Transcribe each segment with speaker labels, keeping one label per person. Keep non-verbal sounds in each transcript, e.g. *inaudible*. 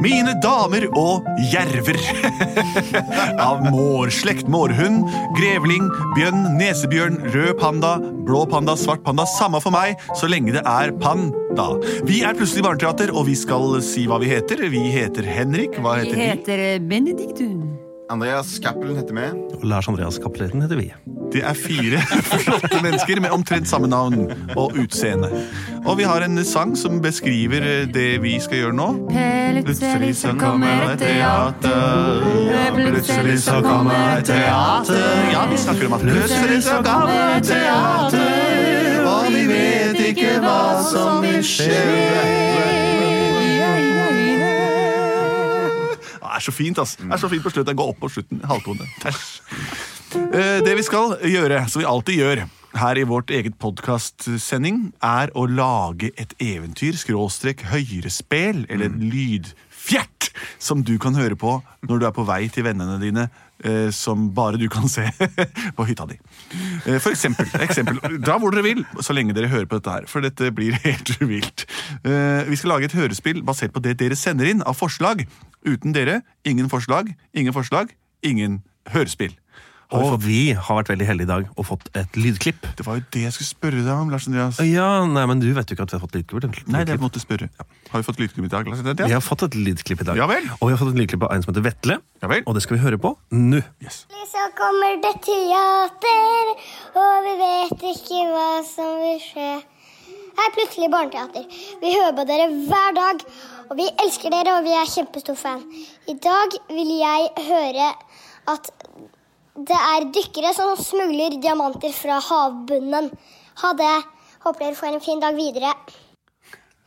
Speaker 1: Mine damer og jerver *laughs* av mårslekt mårhund, grevling, bjønn, nesebjørn, rød panda, blå panda, svart panda, samme for meg, så lenge det er panda. Vi er plutselig barneteater, og vi skal si hva vi heter. Vi heter Henrik. Hva
Speaker 2: Vi
Speaker 1: heter vi?
Speaker 2: heter eh, Benedikt, hun.
Speaker 3: Andreas Cappelen heter med.
Speaker 4: Og Lars Andreas Cappeleten heter vi.
Speaker 1: Det er fire *laughs* flotte mennesker med omtrent samme navn og utseende. Og vi har en sang som beskriver eh, det vi skal gjøre nå.
Speaker 2: Plutselig så kommer et teater. Plutselig så kommer et teater.
Speaker 1: Ja, vi snakker om at plutselig så kommer et teater, og vi vet ikke hva som vil Det er så fint, ass. Det er så fint på slutten. Gå opp på slutten. Halvtone. Tæsj. Eh, Det vi skal gjøre, som vi alltid gjør her i vårt eget podkastsending, er å lage et eventyr, skråstrek høyrespel, eller en lydfjert, som du kan høre på når du er på vei til vennene dine. eh, Som bare du kan se *laughs* på hytta di. Eh, For eksempel, eksempel. Dra hvor dere vil, så lenge dere hører på dette her. For dette blir *laughs* helt vilt. Eh, Vi skal lage et hørespill basert på det dere sender inn av forslag. Uten dere, ingen forslag, ingen forslag, ingen hørespill. Har vi
Speaker 4: Og vi har vært veldig heldige i dag og fått et lydklipp.
Speaker 1: Det var jo det jeg skulle spørre deg om, Lars Andreas.
Speaker 4: Ja, nei, men du vet jo ikke at vi har fått lydklipp.
Speaker 1: Nei, det jeg måtte spørre. Har vi fått lydklipp i dag, Lars
Speaker 4: Vi
Speaker 1: Andreas?
Speaker 4: har fått et lydklipp i dag.
Speaker 1: Ja vel.
Speaker 4: Og vi har fått et lydklipp av en som heter Vetle.
Speaker 1: Ja vel.
Speaker 4: Og det skal vi høre på nå.
Speaker 1: Yes.
Speaker 5: Så kommer det teater, og vi vet ikke hva som vil skje. Her er plutselig barneteater. Vi hører på dere hver dag, og vi elsker dere, og vi er kjempestor fan. I dag vil jeg høre at det er dykkere som smugler diamanter fra havbunnen. Ha det. Håper dere får en fin dag videre.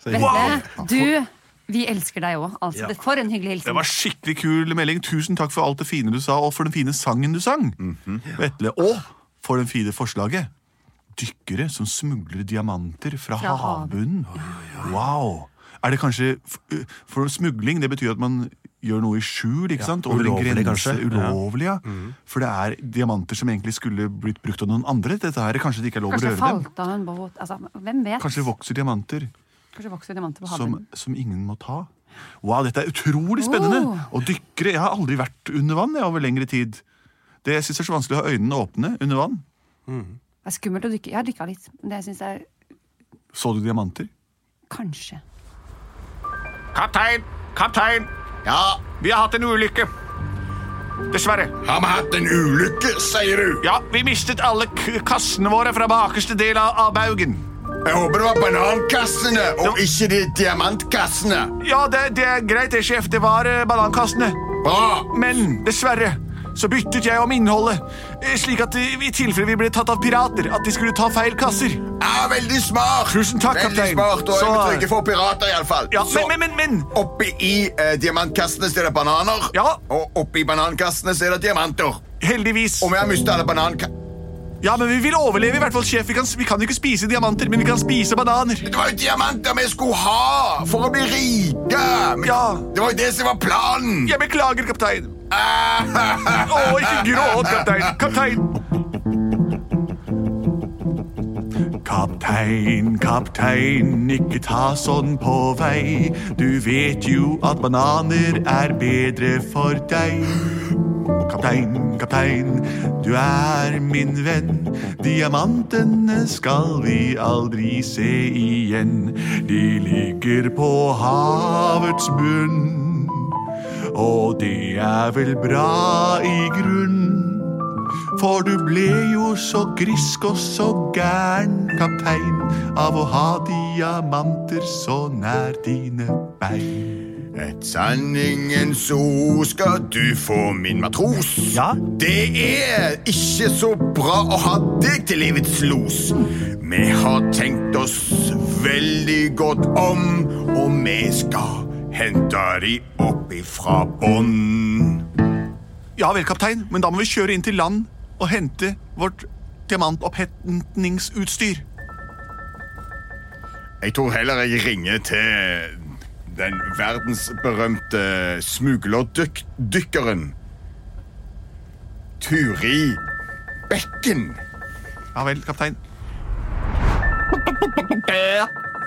Speaker 2: Vetle, du, vi elsker deg òg. Altså,
Speaker 4: Ja.
Speaker 2: det- for en hyggelig hilsen.
Speaker 1: Det var skikkelig kul melding. Tusen takk for alt det fine du sa, og for den fine sangen du sang.
Speaker 4: Mhm.
Speaker 1: Vetle. Og for den fine forslaget. Dykkere som smugler diamanter fra,
Speaker 2: Fra
Speaker 1: havbunnen. Wow. Er det kanskje f- uh, For smugling det betyr at man gjør noe i skjul. ikke sant? Over en
Speaker 4: ulovlig,
Speaker 1: grense.
Speaker 4: kanskje. Ja. Mhm.
Speaker 1: Ulovlig, ja. For det er diamanter som egentlig skulle blitt brukt av noen andre. Dette her, Kanskje det ikke er lov å
Speaker 2: Kanskje det
Speaker 1: røre dem?
Speaker 2: falt av en båt. Altså, hvem vet?
Speaker 1: Kanskje det vokser diamanter
Speaker 2: Kanskje det vokser diamanter på
Speaker 1: som,
Speaker 2: havbunnen.
Speaker 1: som ingen må ta. Wow, dette er utrolig spennende!
Speaker 2: Oh.
Speaker 1: Og dykkere Jeg har aldri vært under vann jeg, over lengre tid. Det jeg synes er så vanskelig å ha øynene åpne under vann.
Speaker 2: Det er skummelt å dykke. Jeg har dykka litt. men Det syns jeg
Speaker 1: Så du diamanter?
Speaker 2: kanskje
Speaker 6: Kaptein! Kaptein!
Speaker 3: Ja,
Speaker 6: Vi har hatt en ulykke. Dessverre.
Speaker 3: har vi hatt en ulykke, sier du?
Speaker 6: Ja, vi mistet alle k kassene våre fra bakerste del av, av baugen.
Speaker 3: Jeg håper det var banankassene og ikke de diamantkassene.
Speaker 6: Ja, det, det er greit, det, sjef. Det var eh, banankassene.
Speaker 3: Bra!
Speaker 6: Men dessverre så byttet jeg om innholdet, eh, slik at eh, i tilfelle vi ble tatt av pirater, at de skulle ta feil kasser.
Speaker 3: Ja, veldig smart!
Speaker 6: Tusen takk,
Speaker 3: veldig
Speaker 6: kaptein.
Speaker 3: smart, og
Speaker 6: Så-
Speaker 3: jeg vil trykke for pirater, iallfall.
Speaker 6: Ja, men, men, men, men.
Speaker 3: Oppi i eh, diamantkassene så er det bananer,
Speaker 6: Ja.
Speaker 3: og oppi banankassene så er det diamanter.
Speaker 6: Heldigvis.
Speaker 3: Og vi har mistet alle banankassene.
Speaker 6: Ja, men vi vil overleve i hvert fall, sjef. Vi kan, vi kan jo ikke spise diamanter, men vi kan spise bananer.
Speaker 3: Det var jo diamanter vi skulle ha for å bli rike! Men
Speaker 6: Ja.
Speaker 3: Det var jo det som var planen! Ah,
Speaker 6: Jeg beklager, kaptein. Å, ikke gråt, kaptein. Kaptein.
Speaker 1: Kaptein, kaptein, ikke ta sånn på vei. Du vet jo at bananer er bedre for deg. Kaptein, kaptein, du er min venn. Diamantene skal vi aldri se igjen. De ligger på havets bunn. Og det er vel bra i grunn. For du ble jo så grisk og så gæren, kaptein, av å ha diamanter så nær dine bein.
Speaker 3: Et sanningens ord skal du få, min matros.
Speaker 1: Ja?
Speaker 3: Det er ikke så bra å ha deg til livets los. Vi har tenkt oss veldig godt om, og vi skal henter de opp ifra bånn.
Speaker 1: Ja vel, kaptein, men da må vi kjøre inn til land og hente vårt diamantopphentingsutstyr.
Speaker 3: Jeg tror heller jeg ringer til den verdensberømte smuglerdykkeren Turi Bekken.
Speaker 1: Ja vel, kaptein.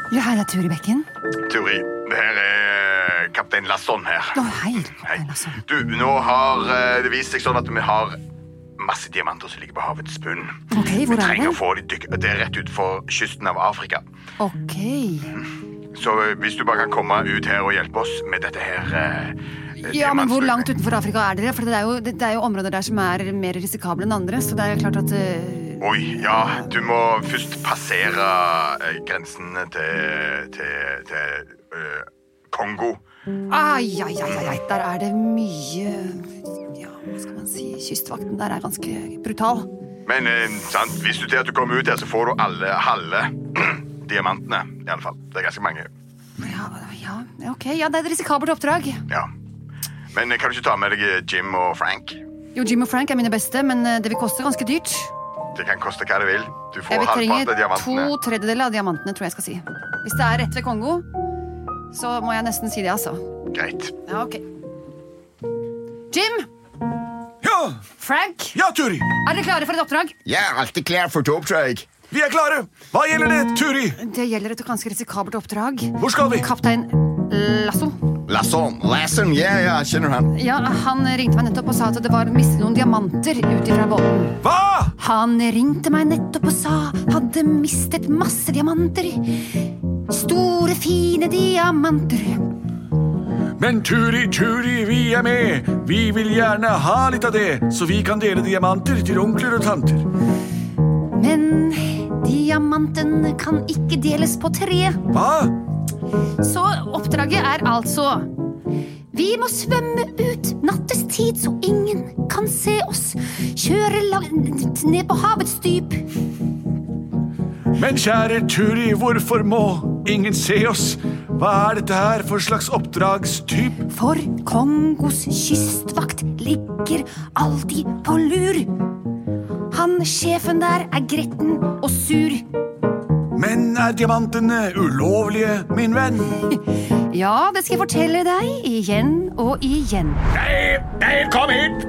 Speaker 7: Ja, her er Turi Bekken.
Speaker 3: Turi, det her er eh, kaptein Lasson her.
Speaker 7: Å, hei, kaptein
Speaker 2: altså.
Speaker 7: Lasson.
Speaker 3: Du, nå har eh, det vist seg sånn at vi har masse diamanter som ligger på havets bunn.
Speaker 7: Ok, hvor
Speaker 3: vi
Speaker 7: er
Speaker 3: trenger
Speaker 7: det?
Speaker 3: å få de dykk... Det er rett utfor kysten av Afrika.
Speaker 7: Ok.
Speaker 3: Så eh, hvis du bare kan komme ut her og hjelpe oss med dette her eh,
Speaker 7: Ja, men hvor
Speaker 3: diamantstykket.
Speaker 7: langt utenfor Afrika er dere? For det er jo, det er jo områder der som er mer risikable enn andre, så det er klart at eh,
Speaker 3: Oi, ja, du må først passere eh, grensen til, til, til eh, Kongo.
Speaker 7: Ai, ai, ai, ai, ai, der er det mye Ja, hva skal man si Kystvakten der er ganske brutal.
Speaker 3: Men eh, sant, hvis du til at du kommer ut her, så får du alle halve *clears throat* diamantene. I alle fall. Det er ganske mange.
Speaker 7: Ja, ja, ja, ok. Ja, det er et risikabelt oppdrag.
Speaker 3: Ja. Men eh, kan du ikke ta med deg eh, Jim og Frank?
Speaker 7: Jo, Jim og Frank er mine beste, men eh, det vil koste ganske dyrt.
Speaker 3: Det kan koste hva det vil. Du
Speaker 7: Jeg
Speaker 3: får
Speaker 7: vil
Speaker 3: halvparten av
Speaker 7: trenge
Speaker 3: diamantene.
Speaker 7: to tredjedeler av diamantene, tror jeg jeg skal si. Hvis det er rett ved Kongo, så må jeg nesten si det, altså.
Speaker 3: Greit.
Speaker 7: Ja, ok. Jim!
Speaker 1: Ja!
Speaker 7: Frank!
Speaker 1: Ja, Turi!
Speaker 7: Er dere klare for et oppdrag?
Speaker 3: Jeg er alltid klar for et oppdrag.
Speaker 1: Vi er klare! Hva gjelder det, Turi?
Speaker 7: Det gjelder et ganske risikabelt oppdrag.
Speaker 1: Hvor skal vi?
Speaker 7: Kaptein Lasso.
Speaker 3: Lasson. Lasson, ja, ja, kjenner han.
Speaker 7: Ja, Han ringte meg nettopp og sa at det var mistet noen diamanter ut fra båten.
Speaker 1: Hva?
Speaker 7: Han ringte meg nettopp og sa hadde mistet masse diamanter. Store, fine diamanter.
Speaker 1: Men Turi, Turi, vi er med. Vi vil gjerne ha litt av det, så vi kan dele diamanter til onkler og tanter.
Speaker 7: Men diamanten kan ikke deles på tre.
Speaker 1: Hva?
Speaker 7: Så oppdraget er altså Vi må svømme ut nattestid så ingen kan se oss. Kjøre la- ned på havets dyp.
Speaker 1: Men kjære Turi, hvorfor må ingen se oss? Hva er dette her for slags oppdragstyp?
Speaker 7: For Kongos kystvakt ligger alltid på lur. Han sjefen der er gretten og sur.
Speaker 1: Men er diamantene ulovlige, min venn?
Speaker 7: Ja, det skal jeg fortelle deg igjen og igjen.
Speaker 8: Geir, Geir, kom hit!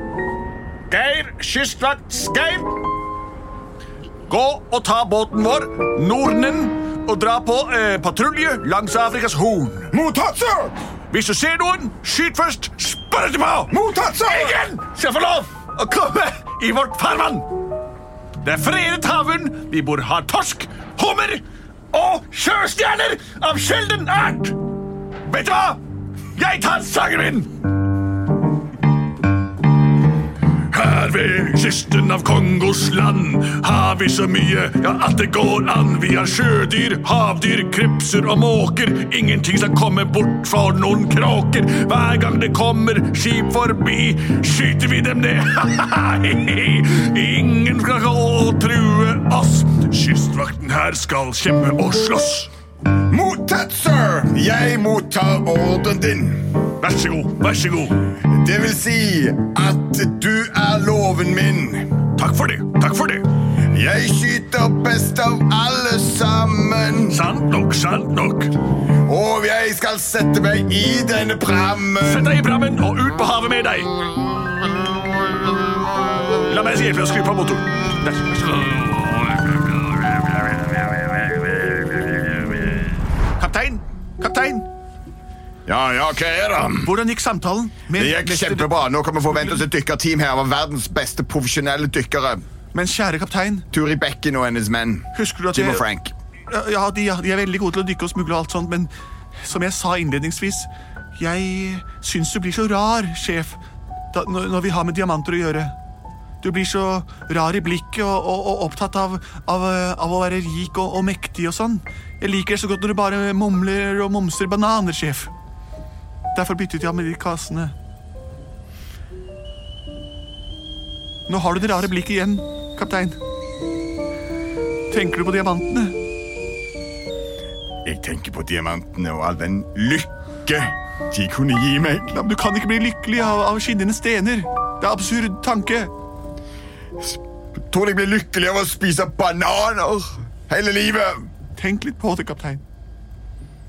Speaker 8: Geir, kystvakt Geir!
Speaker 1: Gå og ta båten vår, Nordnen, og dra på eh, patrulje langs Afrikas Horn.
Speaker 3: Mottatt, sir!
Speaker 1: Hvis du ser noen, skyt først, spør etterpå!
Speaker 3: Mottatt, sir!
Speaker 1: Ingen skal få lov å komme i vårt farvann! Det er fredet havbunn, vi bor har torsk, hummer og sjøstjerner av sjelden art! Vet du hva? Jeg tar sangen min! Her ved kysten av Kongos land har vi så mye, ja, at det går an. Vi har sjødyr, havdyr, krepser og måker. Ingenting skal komme bort for noen kråker. Hver gang det kommer skip forbi, skyter vi dem ned. *laughs* Ingen skal gå og true oss. Kystvakten her skal kjempe og slåss.
Speaker 3: Mottatt, sir! Jeg mottar ordren din.
Speaker 1: Vær så god, vær så god.
Speaker 3: Det vil si at du er loven min.
Speaker 1: Takk for det, takk for det.
Speaker 3: Jeg skyter best av alle sammen.
Speaker 1: Sant nok, sant nok.
Speaker 3: Og jeg skal sette meg i denne prammen.
Speaker 1: Sett deg i prammen og ut på havet med deg. La meg hjelpe deg å skru på motoren. Der. vær så god. Kaptein, kaptein.
Speaker 3: Ja, ja, hva er det?
Speaker 1: Hvordan gikk samtalen? med
Speaker 3: Det gikk
Speaker 1: mester-
Speaker 3: kjempebra. Nå kan vi forvente oss et dykkerteam her av verdens beste profesjonelle dykkere.
Speaker 1: Men kjære kaptein,
Speaker 3: Turi Bekken og hennes menn.
Speaker 1: husker du at
Speaker 3: Jim
Speaker 1: jeg...
Speaker 3: og Frank.
Speaker 1: Ja, Ja, de, ja, de er veldig gode til å dykke og smugle og alt sånt, men som jeg sa innledningsvis, jeg syns du blir så rar, sjef, da, når, når vi har med diamanter å gjøre. Du blir så rar i blikket og, og, og opptatt av, av, eh, av å være rik og, og mektig og sånn. Jeg liker det så godt når du bare mumler og momser bananer, sjef. Derfor byttet jeg av med de kassene. Nå har du det rare blikket igjen, kaptein. Tenker du på diamantene?
Speaker 3: Jeg tenker på diamantene og all den lykke De kunne gi meg
Speaker 6: Ja, men Du kan ikke bli lykkelig av, av skinnende stener. Det er absurd tanke.
Speaker 3: Tror du jeg blir lykkelig av å spise bananer hele livet?
Speaker 6: Tenk litt på det, kaptein.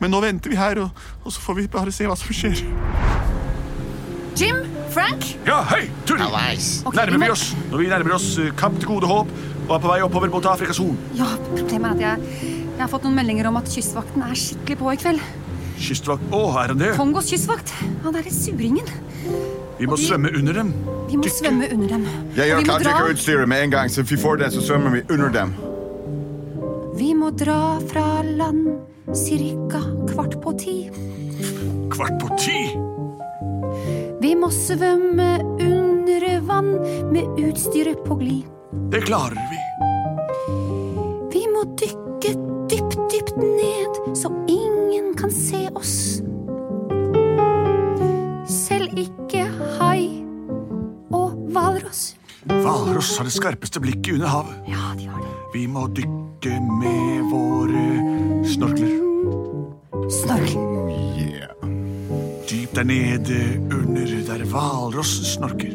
Speaker 6: Men nå venter vi her, og, og så får vi bare se hva som skjer.
Speaker 7: Jim? Frank?
Speaker 6: Ja, hei, Tull!
Speaker 7: Ok,
Speaker 6: Nærmer vi
Speaker 7: vent.
Speaker 6: oss når vi nærmer oss eh, Kamp til gode håp og er på vei oppover mot Afrikas Horn.
Speaker 7: Ja, problemet er at jeg, jeg har fått noen meldinger om at kystvakten er skikkelig på i kveld.
Speaker 6: Kystvakt Å, er han det?
Speaker 7: Kongos kystvakt. Han derre suringen.
Speaker 6: Vi må
Speaker 7: vi-
Speaker 6: svømme under dem.
Speaker 7: Vi må svømme under dem. Og
Speaker 3: Jeg gjør
Speaker 7: vi må
Speaker 3: klart
Speaker 7: dra
Speaker 3: ikke utstyret med en gang, så vi får den, så svømmer vi under dem.
Speaker 7: Vi må dra fra land cirka kvart på ti.
Speaker 6: Kvart på ti!
Speaker 7: Vi må svømme under vann med utstyret på glid.
Speaker 6: Det klarer vi.
Speaker 7: Vi må dykke dypt, dypt ned, så ingen kan se oss. Selv ikke hai og hvalross.
Speaker 6: Hvalross har det skarpeste blikket under havet.
Speaker 7: Ja, de har det.
Speaker 6: Vi må dykke med våre snorkler.
Speaker 7: Snorkel.
Speaker 6: Dypt der nede under der hvalross snorker.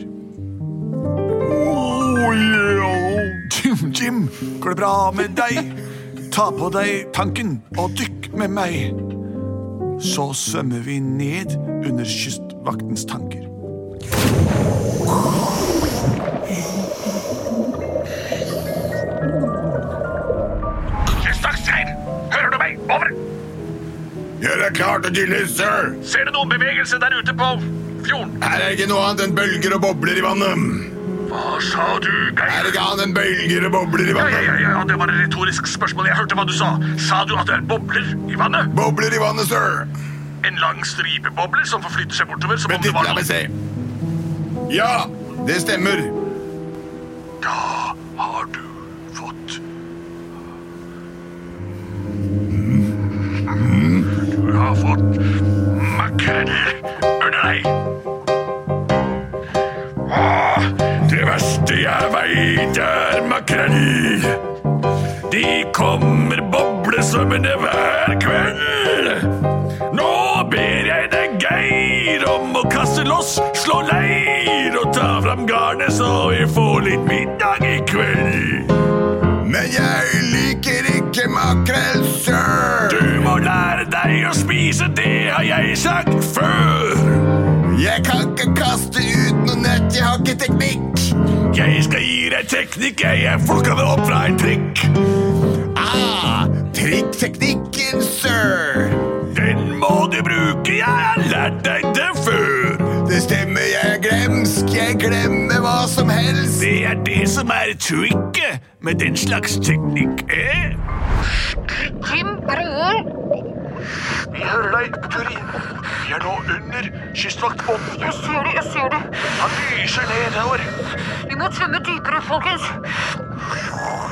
Speaker 6: Oh, yeah. Jim, Jim, går det bra med deg? Ta på deg tanken og dykk med meg. Så svømmer vi ned under kystvaktens tanker.
Speaker 1: Kystvaktstein! Hører du meg? Over!
Speaker 3: Gjør det klart og tydelig, sir!
Speaker 1: Ser du noen bevegelse der ute på fjorden?
Speaker 3: Her er ikke noe annet enn bølger og bobler i vannet.
Speaker 1: Hva sa du, Geir?
Speaker 3: Her er ikke annet enn bølger og bobler i
Speaker 1: Ja, ja,
Speaker 3: vannet.
Speaker 1: ja, ja, det var et retorisk spørsmål. Jeg hørte hva du sa. Sa du at det er bobler i vannet?
Speaker 3: Bobler i vannet, sir!
Speaker 1: En lang stripe bobler som forflytter seg bortover som om
Speaker 3: Vent
Speaker 1: det
Speaker 3: litt,
Speaker 1: var
Speaker 3: la meg
Speaker 1: noe.
Speaker 3: se. Ja, det stemmer.
Speaker 1: Da har du fått Du har fått makrell under deg. Åh, det verste jeg veit, er makrell. De kommer boblesvømmende hver kveld. Nå ber jeg deg, Geir, om å kaste loss, slå leir og ta fram garnet, så vi får litt middag i kveld.
Speaker 3: Men jeg liker ikke makrell, sir!
Speaker 1: Du må lære deg å spise, det har jeg sagt før.
Speaker 3: Jeg kan ikke kaste ut noe nett, jeg har ikke teknikk.
Speaker 1: Jeg skal gi deg teknikk, jeg. Jeg plukka det opp fra en trikk.
Speaker 3: Ah, trikk-teknikken, sir!
Speaker 1: Den må du bruke, jeg har lært deg det før.
Speaker 3: Det stemmer, jeg er glemsk, jeg glemmer hva som helst.
Speaker 1: Det er det som er tricket med den slags teknikk, eh?
Speaker 9: Jim prøver.
Speaker 1: Vi hører deg, Turi. Vi er nå under kystvaktbåten.
Speaker 9: Jeg ser det, jeg ser det.
Speaker 1: Han lyser nedover.
Speaker 9: Vi må svømme dypere, folkens.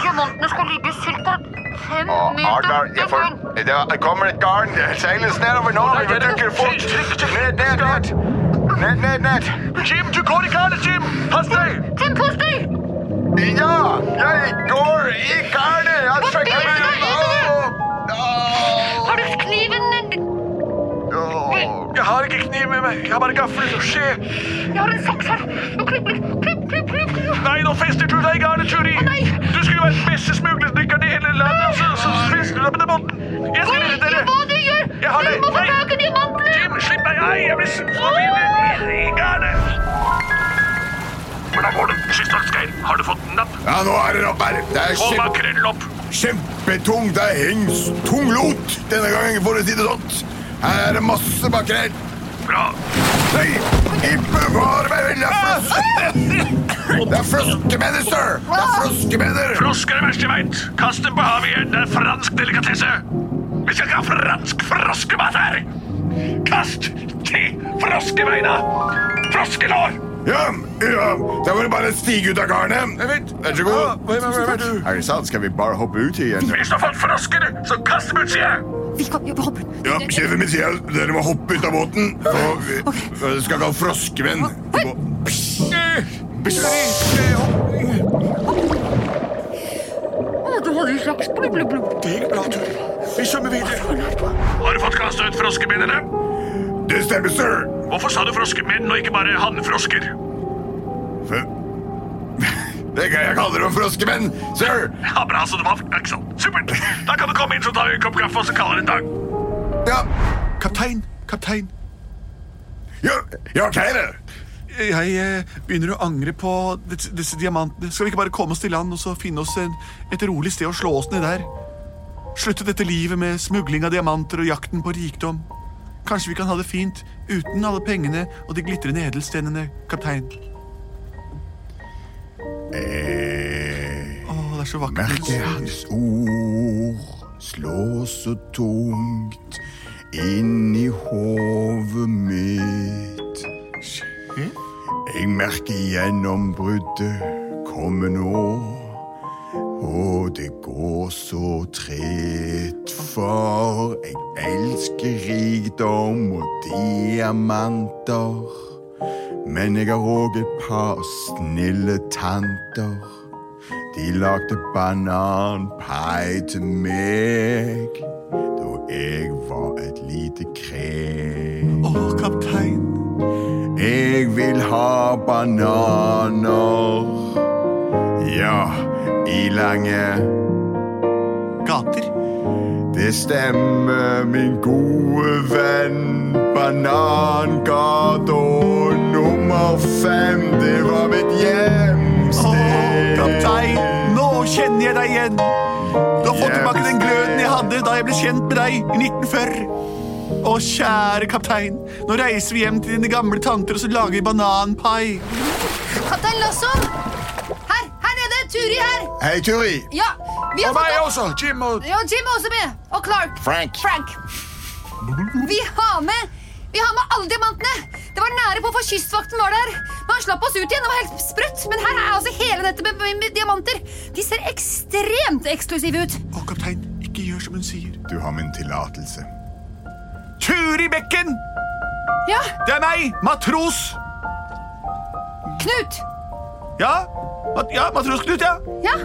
Speaker 9: Diamantene skal ligge ca. fem meter unna.
Speaker 3: det kommer et garn. Det seiles nedover nå.
Speaker 1: vi dukker fort. Ned, ned, ned.
Speaker 3: Ned, ned, ned.
Speaker 1: Jim, du går i garnet, Jim! Pass deg!
Speaker 9: Tim, pass deg!
Speaker 3: Ja, jeg går i garnet. Jeg
Speaker 9: Hva
Speaker 3: trekker
Speaker 9: binder
Speaker 3: meg
Speaker 9: du i
Speaker 3: opp. Åh,
Speaker 9: Har du kniven?
Speaker 3: åh.
Speaker 1: Jeg har ikke kniv med meg. Jeg har bare gaffel og skje.
Speaker 9: Jeg har en saks her. Nå klipper jeg. Klipp, klipp, klipp. klipp.
Speaker 1: Nei, nå fester du deg i garnet, Turi.
Speaker 9: nei.
Speaker 1: Du skulle jo være den beste smuglerdykkeren i hele landet, så, så fester du deg på den måten. Jeg skal redde
Speaker 9: Gjør
Speaker 1: dere.
Speaker 9: hva du gjør!
Speaker 1: Jeg har
Speaker 9: Du
Speaker 1: det.
Speaker 9: må få
Speaker 1: Nei.
Speaker 9: tak i diamantene!
Speaker 1: Jim, slipp meg. Nei, jeg blir svimmel i garnet. Hvordan går det? Kystvaktgeir, har du fått napp?
Speaker 3: Ja, nå er det opp her. Det er
Speaker 1: Få
Speaker 3: kjempe...
Speaker 1: makrellen opp.
Speaker 3: Kjempetung, det er en s- tung lot denne gangen, for å si det sånn. Her er det masse makrell.
Speaker 1: Bra.
Speaker 3: Nei, ikke bevare meg vel, det er
Speaker 1: *laughs*
Speaker 3: frosk- Det er froskemenner, sir! Det er froskemenner!
Speaker 1: Frosker er verst jeg veit. Kast dem på havet igjen. Det er fransk delikatesse. Vi skal ikke ha fransk froskemat her. Kast de froskebeina. Froskelår.
Speaker 3: Ja, ja, da må du bare stige ut av garnet. Vent, vær så god. Er det sant? Skal vi bare hoppe ut igjen?
Speaker 1: Hvis du har fått frosker, så kast dem ut, sier jeg.
Speaker 7: Vi kan vi hopper.
Speaker 3: Ja, sjefen min sier at dere må hoppe ut av båten. Og vi dere skal kalle froskemenn. Vi må-
Speaker 9: Å, du hadde en saks. Blubb, blubb, blubb.
Speaker 6: Det gikk bra, Tull. Vi svømmer videre.
Speaker 1: Har du fått kastet ut froskebindene?
Speaker 3: Det stemmer, sir.
Speaker 10: Hvorfor sa du froskemenn og ikke bare hannfrosker?
Speaker 3: F- Det er gøy jeg kaller dem froskemenn, sir.
Speaker 10: Ja, bra, så det var ikke sant. Supert. Da kan du komme inn, så tar vi en kopp kaffe og så kaller det en dag.
Speaker 3: Ja,
Speaker 6: Kaptein, kaptein.
Speaker 3: ja, ja ok, det.
Speaker 6: Jeg eh, begynner å angre på dets- disse diamantene. Skal vi ikke bare komme oss til land og så finne oss en, et rolig sted å slå oss ned der? Slutte dette livet med smugling av diamanter og jakten på rikdom. Kanskje vi kan ha det fint uten alle pengene og de glitrende edelstenene, kaptein.
Speaker 3: Eh,
Speaker 6: Å, det er så vakkert.
Speaker 3: merke hans ord slå så tungt inn i hovet mitt. Jeg merker gjennombruddet komme nå, og det går så tregt, for jeg elsker rikdom og diamanter. Men jeg har òg et par snille tanter. De lagde bananpai til meg da jeg var et lite krek.
Speaker 6: Å, kaptein.
Speaker 3: Jeg vil ha bananer. Ja, i lange
Speaker 6: Gater.
Speaker 3: Det stemmer, min gode venn. Banangata nummer fem, det var mitt
Speaker 6: Å,
Speaker 3: hjemsted.
Speaker 6: kaptein, nå kjenner jeg deg igjen. Du har fått tilbake den gløden jeg hadde da jeg ble kjent med deg i 1940. Å, kjære kaptein, nå reiser vi hjem til dine gamle tanter og så lager vi bananpai.
Speaker 7: Kaptein Lasson! Her! Her nede! Turi her!
Speaker 3: Hei, Turi.
Speaker 7: Ja! Vi har
Speaker 3: Og meg
Speaker 7: fått
Speaker 3: også, Jim og
Speaker 7: Ja, Jim er også med! Og Clark.
Speaker 3: Frank.
Speaker 7: Vi har med Vi har med alle diamantene! Det var nære på for kystvakten var der. Men han slapp oss ut igjen. Det var helt sprøtt. Men her er altså hele nettet med, med, med diamanter. De ser ekstremt eksklusive ut.
Speaker 6: Å, kaptein, ikke gjør som hun sier.
Speaker 3: Du har min tillatelse.
Speaker 6: Turi Bekken,
Speaker 7: Ja,
Speaker 6: det er meg, matros.
Speaker 7: Knut!
Speaker 6: Ja, mat ja matros Knut, ja.
Speaker 7: Ja?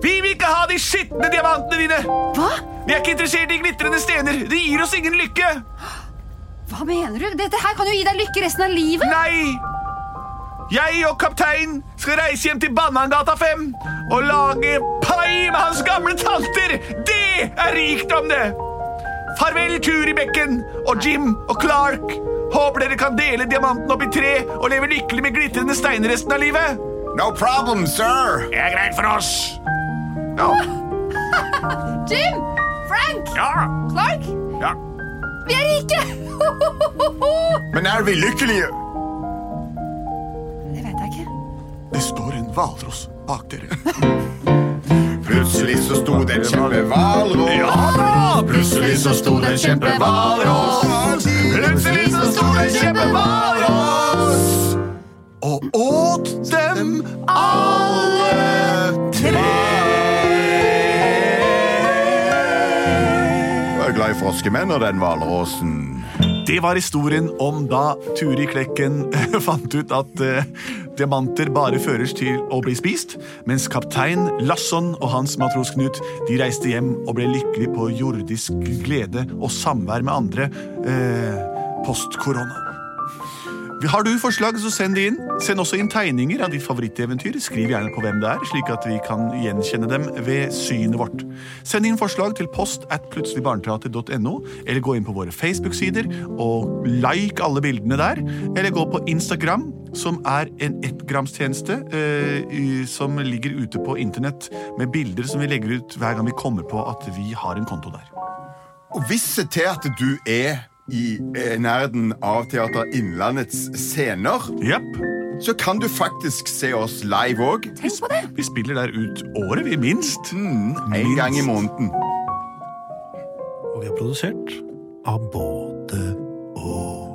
Speaker 6: Vi vil ikke ha de skitne diamantene dine.
Speaker 7: Hva?
Speaker 6: Vi er ikke interessert i glitrende stener. Det gir oss ingen lykke.
Speaker 7: Hva mener du? Dette her kan jo gi deg lykke resten av livet.
Speaker 6: Nei! Jeg og kapteinen skal reise hjem til Bannangata 5 og lage pai med hans gamle tanter. Det er rikdom, det! Farvel, Turi Bekken og Jim og Clark. Håper dere kan dele diamanten opp i tre og leve lykkelig med glitrende steiner resten av livet.
Speaker 3: No problem, sir.
Speaker 10: Det er greit for oss.
Speaker 7: Jim! Frank!
Speaker 10: Ja.
Speaker 7: Clark!
Speaker 10: Ja.
Speaker 7: Vi er rike! *laughs*
Speaker 3: Men er vi lykkelige?
Speaker 7: Det vet jeg ikke.
Speaker 6: Det står en hvalross bak dere.
Speaker 3: Plutselig så sto det en kjempehvalross.
Speaker 2: Plutselig så sto det en kjempehvalross.
Speaker 3: Plutselig så sto det en kjempehvalross.
Speaker 6: Og åt dem
Speaker 3: Alle tre. Jeg er glad i froskemenn og den hvalrossen.
Speaker 6: Det var historien om da Turi Klekken *laughs* fant ut at eh, diamanter bare føres til å bli spist, mens kaptein Lasson og hans matros Knut de reiste hjem og ble lykkelig på jordisk glede og samvær med andre eh, post-korona. Har du forslag, så send de inn. Send også inn tegninger av ditt favoritteventyr. Skriv gjerne på hvem det er, slik at vi kan gjenkjenne dem ved synet vårt. Send inn forslag til post at plutseligbarneteater.no, eller gå inn på våre Facebook-sider og like alle bildene der. Eller gå på Instagram, som er en ettgramstjeneste eh, i- som ligger ute på internett med bilder som vi legger ut hver gang vi kommer på at vi har en konto der.
Speaker 3: Og visse til at du er i eh, nærheten av Teater Innlandets scener,
Speaker 6: Jepp.
Speaker 3: så kan du faktisk se oss live òg.
Speaker 7: Tenk på det.
Speaker 6: Vi spiller der ut året, vi, minst.
Speaker 3: Mm, En gang i måneden.
Speaker 4: Og vi er produsert av både og.